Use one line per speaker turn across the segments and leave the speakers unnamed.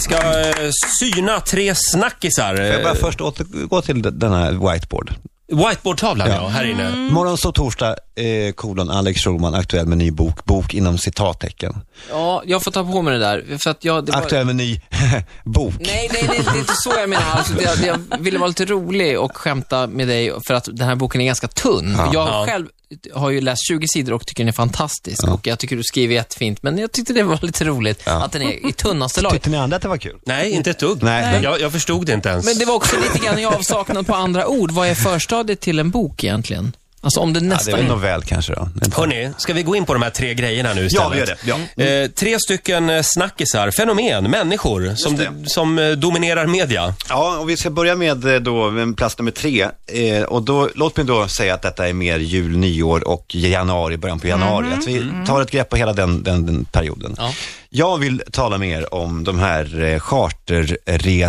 ska eh, syna tre snackisar.
Jag bara
Eh,
först återgå till d- denna whiteboard.
Whiteboardtavlan, ja. här inne.
Mm.
Mm.
Morgon så torsdag, eh, kolon Alex Schulman, aktuell med ny bok, bok inom citattecken.
Ja, jag får ta på mig det där. För att jag, det var...
Aktuell med ny bok.
Nej, nej, nej, det är inte så jag menar. Alltså, det, det, jag ville vara lite rolig och skämta med dig för att den här boken är ganska tunn. Jag
Ja.
själv har ju läst 20 sidor och tycker den är fantastisk. Och jag tycker du skriver jättefint, men jag tyckte det var lite roligt att den är i tunnaste laget.
Tyckte ni andra att det var kul?
Nej, inte ett dugg.
Nej. Nej.
Jag, jag förstod det inte ens.
Men det var också lite grann i avsaknad på andra ord. Vad är förstadiet till en bok egentligen? Alltså om det
Ja, det är
nästan...
väl en novell kanske då. Inte-
Hörni, ska vi gå in på de här tre grejerna nu istället?
Ja, vi gör det. Ja.
Eh, tre stycken eh, snackisar, fenomen, människor som, som eh, dominerar media.
Ja, och vi ska börja med eh, då med plats nummer tre. Eh, och då, låt mig då säga att detta är mer jul, nyår och januari, början på januari. Att vi tar ett grepp på hela den, den, den perioden.
Ja.
Jag vill tala med er om de här eh,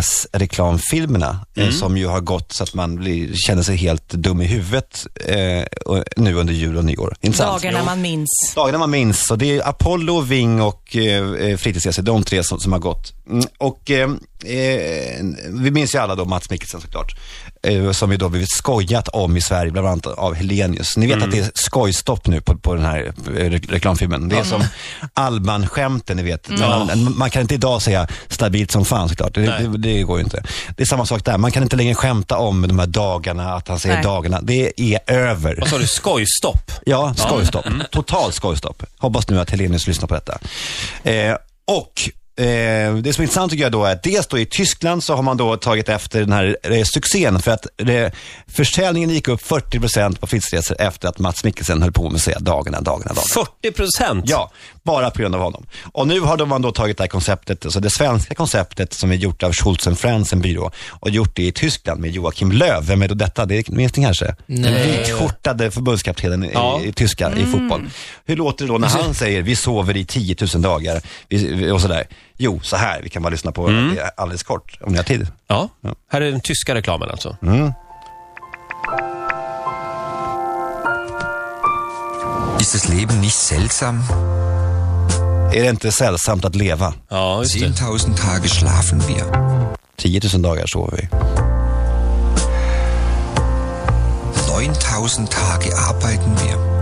charterresreklamfilmerna eh, som ju har gått så att man blir, känner sig helt dum i huvudet eh, och, nu under jul och nyår. Inte sant?
Dagarna
Jo.
man minns.
Dagarna man minns. Så det är Apollo, Ving och eh, Fritidsresor, de tre som, som har gått. Mm, och eh, eh, vi minns ju alla då Mats Mikkelsen såklart, eh, som ju då blivit skojat om i Sverige, bland annat av Helenius. Ni vet att det är skojstopp nu på, på den här eh, re reklamfilmen. Det är som Alban-skämten, ni vet. Man, man kan inte idag säga stabilt som fan såklart, det,
Nej.
det, det går ju inte. Det är samma sak där, man kan inte längre skämta om de här dagarna, att han säger
Nej.
dagarna. Det är över.
Vad sa du? Skojstopp?
Ja, skojstopp. Total skojstopp. Hoppas nu att Helenius lyssnar på detta. Eh, och eh, det som är intressant tycker jag då är att dels då i Tyskland så har man då tagit efter den här eh, succén för att eh, försäljningen gick upp 40% på fritidsresor efter att Mats Mikkelsen höll på med att säga dagarna, dagarna, dagarna.
40 procent?
Ja, bara på grund av honom. Och nu har de- man då tagit det här konceptet, alltså det svenska konceptet som är gjort av Schultz Friends, en byrå, och gjort det i Tyskland med Joakim Löw. Vem är då detta? Det minns ni kanske? Den vitskjortade förbundskaptenen i,
Ja. Mm.
i tyska i fotboll. Hur låter det då när han säger vi sover i 10 000 dagar vi- vi- och sådär? Jo, så här. Vi kan bara lyssna på
Mm.
det alldeles kort, om ni har tid.
Ja, här är den tyska reklamen alltså.
Mm.
Ist das Leben nicht seltsam?
Är det inte sällsamt att leva?
Ja, just det.
10.000 Tage schlafen wir,
10 000 dagar sover vi.
9.000 Tage arbeiten wir.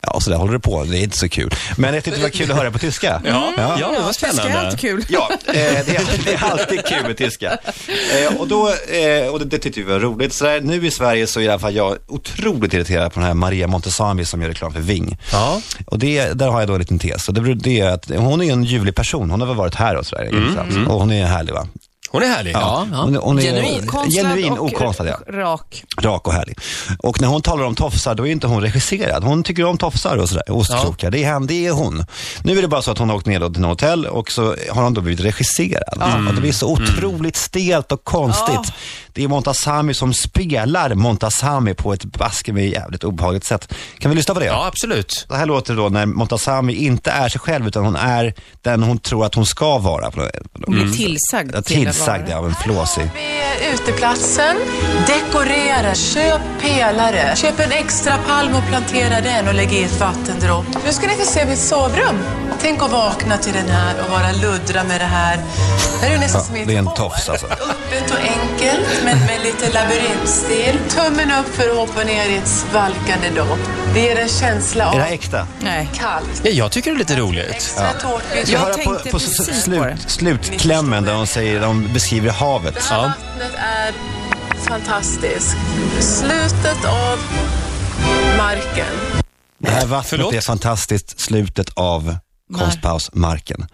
Ja, så där håller det på. Det är inte så kul. Men jag tyckte det var kul att höra på tyska.
Ja,
Mm.
ja, det var
Tyska är
spännande.
alltid kul.
Ja, eh, det, är, det är alltid kul med tyska. Eh, och då, eh, och det, det tyckte vi var roligt. Så där, nu i Sverige så är i alla fall jag otroligt irriterad på den här Maria Montesami som gör reklam för Ving.
Ja.
Och det, där har jag då en liten tes. Och det, beror- det är att hon är ju en ljuvlig person. Hon har väl varit här och sådär. Mm, och hon är härlig va?
Hon är härlig.
Ja, ja.
Hon, är- hon är
Genuin.
Konstlad
genuin
och
okonstlad, ja.
r- rak.
Rak och härlig. Och när hon talar om tofsar, då är inte hon regisserad. Hon tycker om tofsar och sådär. Ostkrokar, det är han, det är hon. Nu är det bara så att hon har åkt ner då till något hotell och så har hon då blivit regisserad. Och det blir så otroligt stelt och konstigt. Det är Montazami som spelar Montazami på ett baske med jävligt obehagligt sätt. Kan vi lyssna på det?
Ja, absolut.
Så här låter det då när Montazami inte är sig själv utan hon är den hon tror att hon ska vara. på något- på något
Hon blir
vis.
tillsagd
Mm. Ja,
till att vara
Tillsagd av en flåsig.
Be uteplatsen, dekorera, köp pelare, köp en extra palm och plantera den och lägg i ett vattendropp. Nu ska ni få se mitt sovrum. Tänk att vakna till den här och bara luddra med det här. Det här är ju nästan som i ett
det är en
hår.
tofs, alltså.
Öppet och enkelt, men med lite labyrintstil. Tummen upp för att hoppa ner i ett svalkande dopp. Det ger en känsla av
Är det här äkta?
Nej.
kallt.
Ja, jag tycker det är lite roligt.
Extra tårtbit.
Jag
höra
tänkte
på, på
precis
s-
på det.
slut, slutklämmen där de, säger, de beskriver
Det
havet.
här vattnet är fantastiskt. Slutet av marken.
Det här vattnet
Förlåt?
är fantastiskt, slutet av konstpaus, marken.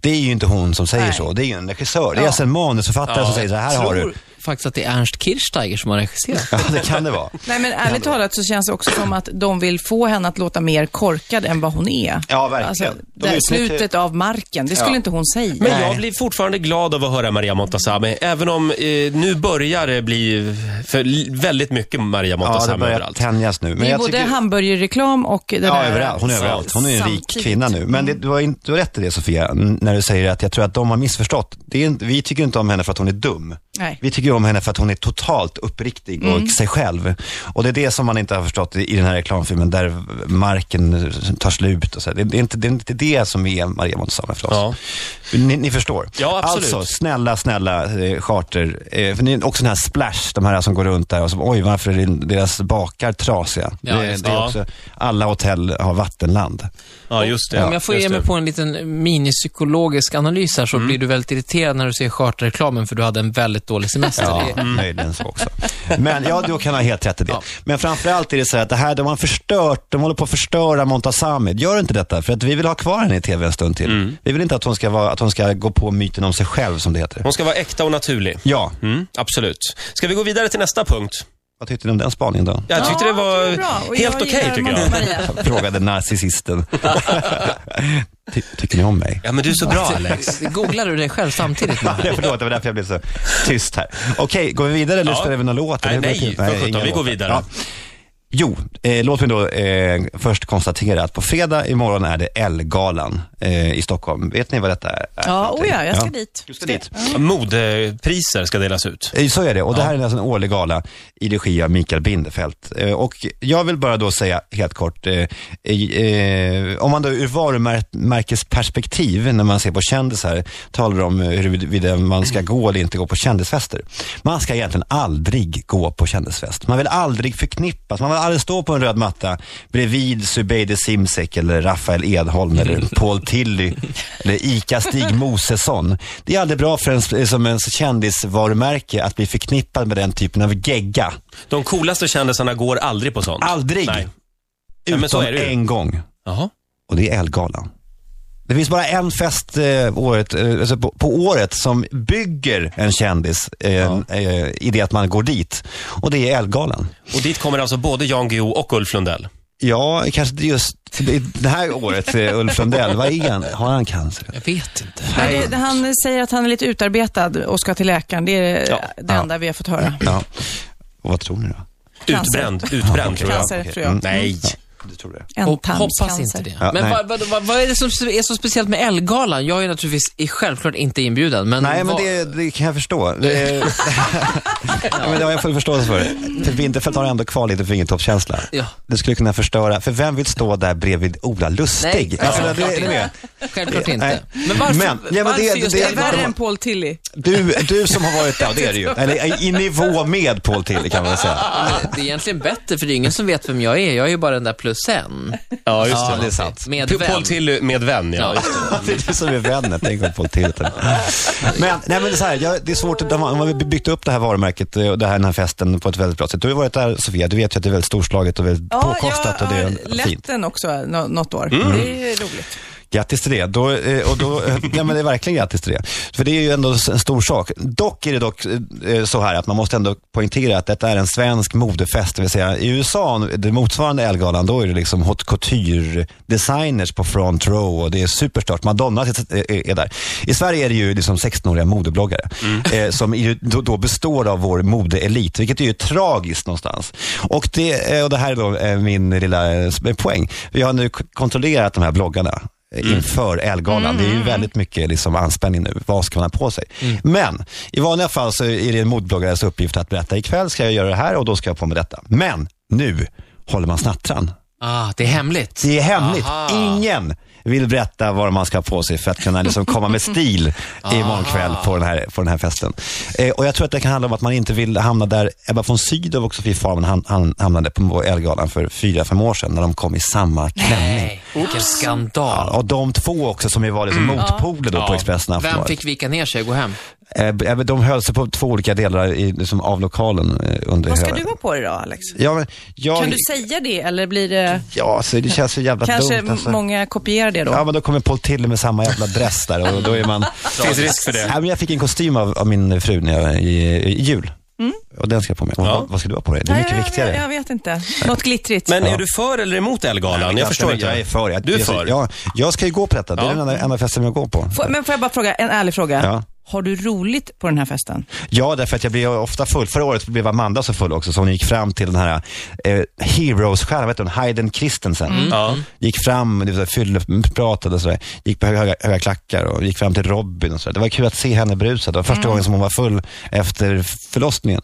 Det är ju inte hon som säger
Nej.
så, det är ju en regissör. Det är alltså en manusförfattare
Ja,
som säger så här, här har du.
tror faktiskt att det är Ernst Kirchsteiger som har regisserat.
Ja, det kan det vara.
Nej, men ärligt talat så känns det också som att de vill få henne att låta mer korkad än vad hon är.
Ja, verkligen.
Alltså,
De
där,
utnyttjar-
Slutet av marken, det skulle
Ja.
inte hon säga.
Men jag blir fortfarande glad av att höra Maria Montazami, även om eh, nu börjar det bli för l- väldigt mycket Maria
Ja,
Montazami
det börjar
överallt.
tänjas nu. Men
det är
jag
både
tycker-
hamburgerreklam och den
Ja,
här...
överallt. Hon är överallt. Hon är en rik
Samtidigt.
kvinna nu. Men det, du, har inte, du har rätt i det Sofia, n- när du säger att jag tror att de har missförstått. Det är, inte- vi tycker inte om henne för att hon är dum.
Nej.
Vi tycker ju om henne för att hon är totalt uppriktig och sig själv. Och det är det som man inte har förstått i, i den här reklamfilmen, där marken tar slut och så. här. Det, det, är inte, det är inte det som är Maria Montazami för oss.
Ja.
Ni, ni förstår.
Ja, absolut.
Alltså, snälla, snälla eh, charter. Eh, för ni är också den här Splash, de här som går runt där och som, oj varför är deras bakar trasiga?
Ja,
det,
just
det är
det.
också, alla hotell har vattenland.
Ja, just det.
Om jag får
Just
ge mig
det.
på en liten minipsykologisk analys här så blir du väldigt irriterad när du ser charterreklamen för du hade en väldigt dålig semester.
Ja,
Det-
möjligen så också. Men ja, du kan ha helt rätt i det. Men framförallt är det så här att det här, de har förstört, de håller på att förstöra Montazami. Gör inte detta, för att vi vill ha kvar henne i tv en stund till. Vi vill inte att hon, ska vara, att hon ska gå på myten om sig själv, som det heter.
Hon ska vara äkta och naturlig.
Ja,
Mm, absolut. Ska vi gå vidare till nästa punkt?
vad tyckte ni om den spaningen då?
Jag tyckte det var helt okej, tycker jag.
Maria.
Frågade narcissisten. Ty, tycker ni om mig?
Ja, men du är så bra, Alex.
Googlar du dig själv samtidigt? nu?
Ja, förlåt, det var därför jag blev så tyst här. Okej, går vi vidare eller
Ja.
spelar vi någon låt?
Nej,
Eller?
nej, för sjutton,
inga
vi går
låtar.
vidare.
Jo, eh, låt mig då eh, först konstatera att på fredag imorgon är det Ellegalan eh, i Stockholm. Vet ni vad detta är?
Ja, oh ja, jag ska dit.
Du ska dit.
Modepriser ska delas ut.
Eh, Så är det och det här är alltså en årlig gala i regi av Mikael Bindefeldt. Eh, Och jag vill bara då säga helt kort, eh, eh, om man då ur varumärkesperspektiv när man ser på kändisar talar om eh, huruvida man ska gå eller inte gå på kändisfester. Man ska egentligen aldrig gå på kändisfest. Man vill aldrig förknippas, man vill aldrig stå på en röd matta bredvid Zubeide Simsek eller Rafael Edholm eller Paul Tilly eller ICA-Stig Mosesson. Det är aldrig bra för ens, som ens kändisvarumärke att bli förknippad med den typen av gegga.
De coolaste kändisarna går aldrig på sånt.
Aldrig!
Nej. Ja,
Utom
men så är det ju.
en gång.
Jaha.
Och det är Ellegalan. Det finns bara en fest eh, året, eh, alltså på, på året som bygger en kändis eh, eh, i det att man går dit. Och det är Ellegalan.
Och dit kommer alltså både Jan Guillou och Ulf Lundell.
Ja, kanske inte just det det här året, eh, Ulf Lundell. Vad är han? Har han cancer?
Jag vet inte.
Men det, han säger att han är lite utarbetad och ska till läkaren. Det är
Ja.
det enda vi har fått höra.
Ja. Och vad tror ni då?
Cancer.
Utbränd. Utbränd, tror jag.
Cancer,
okej.
tror jag.
Nej.
Du tror det?
En
Hop- Hoppas inte
tarmscancer.
det.
Ja,
men
nej.
vad, vad, vad, vad är det som är så speciellt med Ellegalan? Jag är naturligtvis är självklart inte inbjuden, men...
Nej, men
vad-
det, det kan jag förstå. Det, är- ja, men det har jag full förståelse för. För Winterfeldt har ändå kvar lite fingertoppskänsla.
Ja.
Det skulle kunna förstöra, för vem vill stå där bredvid Ola Lustig?
Nej,
Alltså, det,
självklart
är ni med?
inte. Självklart inte.
Nej.
Men varför,
Men- ja, men det-
varför
det-
just
det-
Alltså, Det
det-
är värre
Ellegalan?
än Paul Tilly.
Du, du som har varit där, det är det ju. Eller i nivå med Paul Tilly kan man väl säga.
Men Det är egentligen bättre, för det är ingen som vet vem jag är. Jag är ju bara den där plus en.
Ja, just
Ja,
det.
det är sant.
Med
P-
vem?
Paul Tilly med vän, ja.
Ja.
Det är du som är vännen, tänk om Paul Tilly. Men, nej, men det, är så här, jag, det är svårt, att- de har, de har byggt upp det här varumärket eh, och det här, den här festen på ett väldigt bra sätt. Du har ju varit där Sofia, du vet ju att det är väldigt storslaget och väldigt påkostat och det är Mm.
lätt
fint.
den också nå- något år. Det är roligt.
Grattis till det. Då, eh, och då, eh, ja, men det är verkligen grattis till det. För det är ju ändå en stor sak. Dock är det dock eh, så här att man måste ändå poängtera att detta är en svensk modefest. Det vill säga i USA, det motsvarande Ellegalan, då är det liksom haute couture-designers på front row och det är superstört. Madonna sitter- eh, är där. I Sverige är det ju liksom 16-åriga modebloggare eh, som är ju, då, då består av vår modeelit, vilket är ju tragiskt någonstans. Och det, eh, och det här är då eh, min lilla eh, poäng. Vi har nu k- kontrollerat de här bloggarna eh, inför Ellegalan. Det är ju väldigt mycket liksom anspänning nu. Vad ska man ha på sig? Men i vanliga fall så är det en modbloggares uppgift att berätta ikväll ska jag göra det här och då ska jag på med detta. Men nu håller man snattran.
Ah, det är hemligt.
Det är hemligt. Ingen vill berätta vad man ska ha på sig för att kunna liksom komma med stil imorgon kväll på den här, på den här festen. Eh, och jag tror att det kan handla om att man inte vill hamna där Ebba von Sydow och Sofie Farman ham- ham- hamnade på Ellegalan för fyra, fem år sedan när de kom i samma klänning.
Nej, vilken
Ja,
skandal.
och de två också som ju var
Mm.
liksom motpoler då på Expressen och
Vem
Aftonbladet.
fick vika ner sig och gå hem?
Eh, b- eh, De höll sig på två olika delar i, liksom, av lokalen eh, under
Vad ska
hela-
du ha på dig då, Alex?
Ja, men jag,
Kan du säga det eller blir det...
ja så det känns så jävla
Kanske
dumt. Alltså.
många kopierar det då?
Ja, men då kommer Paul till med samma jävla dress där och då är man...
Finns risk för det.
Nej, men jag fick en kostym av, av min fru när jag, i, i jul.
Mm.
Och den ska jag på mig. Vad, vad ska du ha på dig? Det är mycket
Nej, jag-
viktigare.
Jag, jag vet inte. Något glittrigt.
Men är du för eller emot Ellegalan? Jag
Ganska
förstår
mycket.
inte.
Jag är för. Jag,
Du är
jag,
för?
Ja, jag ska ju gå på detta. Det är
Ja.
den enda, enda festen jag går på.
Får, men får jag bara fråga, en ärlig fråga.
Ja.
Har du roligt på den här festen?
Ja, därför att jag blir ofta full. Förra året blev Amanda så full också, så hon gick fram till den här eh, Heroes-stjärnan, vad heter hon, Hayden Christensen.
Ja.
Gick fram, det vill säga, fyllepratade och sådär. Gick på höga, höga, höga klackar och gick fram till Robin och sådär. Det var kul att se henne brusad. Det var
Mm.
första gången som hon var full efter förlossningen.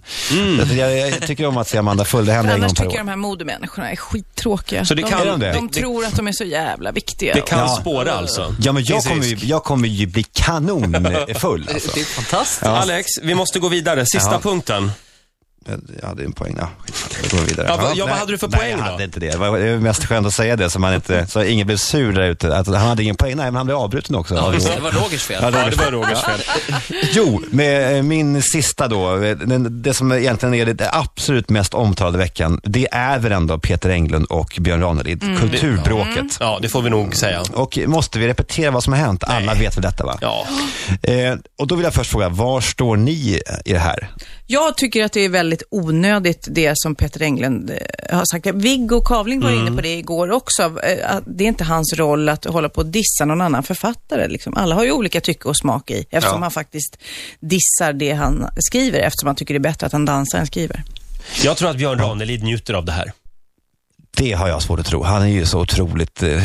Så Jag, jag tycker om att se Amanda full, det
För
händer en
annars
gång per
tycker jag
år.
de här modemänniskorna är skittråkiga.
Så det
de,
kan-
de,
det?
de
Det-
tror att de är så jävla viktiga.
Det kan
Ja.
spåra alltså.
Ja, men jag
Finns
kommer, ju,
risk.
jag kommer ju bli kanonfull. Alltså.
Det är fantastiskt.
Alex, vi måste gå vidare. Sista
Ja.
punkten.
Jag hade en poäng. Ja, skitsamma. Då går vi vidare.
Ja, vad- ja, vad
nej,
hade du för
nej,
poäng
jag
då?
hade inte det. Det var det var mest skönt att säga det så, man inte, så ingen blev sur där ute. Att han hade ingen poäng. Nej, men han blev avbruten också.
Ja,
Ja,
visst, det var Rogers fel.
Ja, det
Ja,
var
det
det.
var Rogers fel.
Jo, med eh, min sista då. eh, Den, det som egentligen är det absolut mest omtalade veckan, det är väl ändå Peter Englund och Björn Ranelid. Kulturbråket.
Mm. Ja, det får vi nog säga.
Och måste vi repetera vad som har hänt? Alla vet väl detta va?
Ja.
Eh, och då vill jag först fråga, var står ni i det här?
Jag tycker att det är väldigt onödigt det som Peter Englund eh, har sagt. Viggo Kavling var
Mm.
inne på det igår också. eh, att Det är inte hans roll att hålla på och dissa någon annan författare. Liksom. Alla har ju olika tycke och smak i eftersom han faktiskt dissar det han skriver eftersom han tycker det är bättre att han dansar än skriver.
Jag tror att Björn Ranelid njuter av det här.
Det har jag svårt att tro. Han är ju så otroligt eh,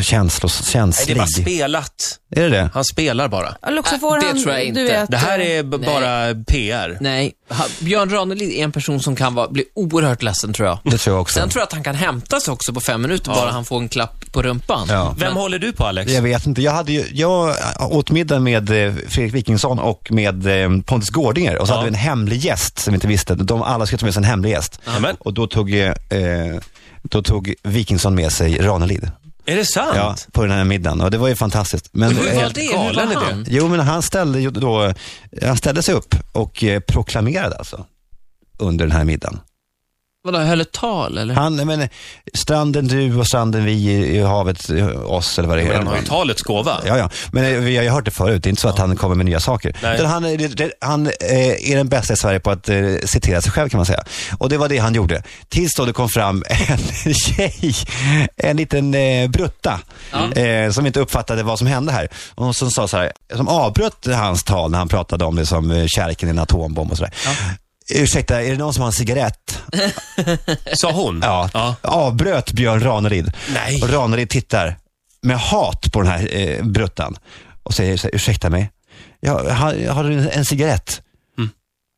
Nej,
känslos,
det är bara
känslig.
spelat.
Är det det?
Han spelar bara.
Eller också
Äh,
får
det
han,
tror jag
du
inte.
vet,
Det här
eh,
är b-
Nej.
bara PR.
Nej, han, Björn Ranelid är en person som kan vara, bli oerhört ledsen tror jag.
Det tror jag också.
Sen tror jag att han kan hämtas också på fem minuter, bara han får en klapp på rumpan.
Ja.
Vem håller du på Alex?
Jag vet inte. Jag, hade ju, jag åt middag med eh, Fredrik Wikingsson och med eh, Pontus Gårdinger och så
Ja.
hade vi en hemlig gäst som vi inte visste. De alla skulle ta med sig en hemlig gäst.
Amen.
Och då tog, eh, eh, då tog Wikingsson med sig Ranelid
Är det sant?
ja, på den här middagen och det var ju fantastiskt. Men,
Hur var
eh,
det? Hur
galen
var
är det.
han?
Jo, men han ställde ju då, han ställde sig upp och eh, proklamerade alltså under den här middagen.
Vadå, höll ett tal eller?
Han, nej, men, stranden du och stranden vi i, i havet, eh, oss eller vad det
Men han har
är.
ju talets gåva.
Ja, ja. Men eh, vi har ju hört det förut. Det är inte så att han kommer med nya saker.
Nej.
Utan han, är- det- han eh, är den bästa i Sverige på att eh, citera sig själv kan man säga. Och det var det han gjorde. Tills då det kom fram en tjej, en liten eh, brutta, eh, som inte uppfattade vad som hände här. Och som sa så här, som avbröt hans tal när han pratade om det som eh, kärken i en atombomb och sådär. Ursäkta, är det någon som har en cigarett?
Sa hon?
Ja,
Mm. ja.
avbröt Björn Ranelid.
Nej.
Och Ranelid tittar med hat på den här eh, bruttan och säger, så här, ursäkta mig, jag, har, har du en, en cigarett?
Mm.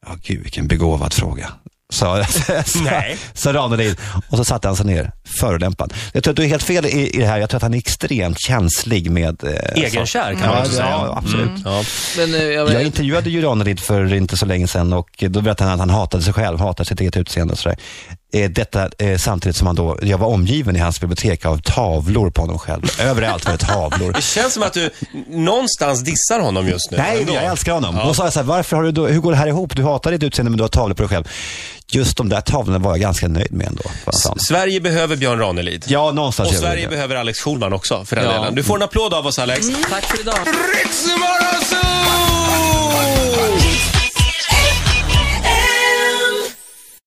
Ja, gud vilken begåvad fråga. Sa, sa,
Nej.
sa Ranelid och så satte han sig ner, förolämpad. Jag tror att du är helt fel i, i det här. Jag tror att han är extremt känslig med... Eh,
Egenkär,
saker.
kan man
ja,
också
ja,
säga. Mm.
Ja, absolut.
Ja.
Men, eh, jag,
Jag intervjuade ju Ranelid för inte så länge sedan och då berättade han att han hatade sig själv, hatade sitt eget utseende och sådär. Eh, Detta eh, samtidigt som han då, jag var omgiven i hans bibliotek av tavlor på honom själv. Överallt var det tavlor.
Det känns som att du någonstans dissar honom just nu.
Nej,
Ändå.
jag älskar honom. Då sa jag så här, varför har du då, hur går det här ihop? Du hatar ditt utseende men du har tavlor på dig själv. Just de där tavlorna var jag ganska nöjd med ändå. vad han sa.
Sverige behöver Björn Ranelid.
Ja, någonstans
Och
gör vi
Sverige
det.
behöver Alex Schulman också, för den
Ja.
delen. Du får en applåd av oss, Alex.
Tack för idag.
Riksmorgon, så-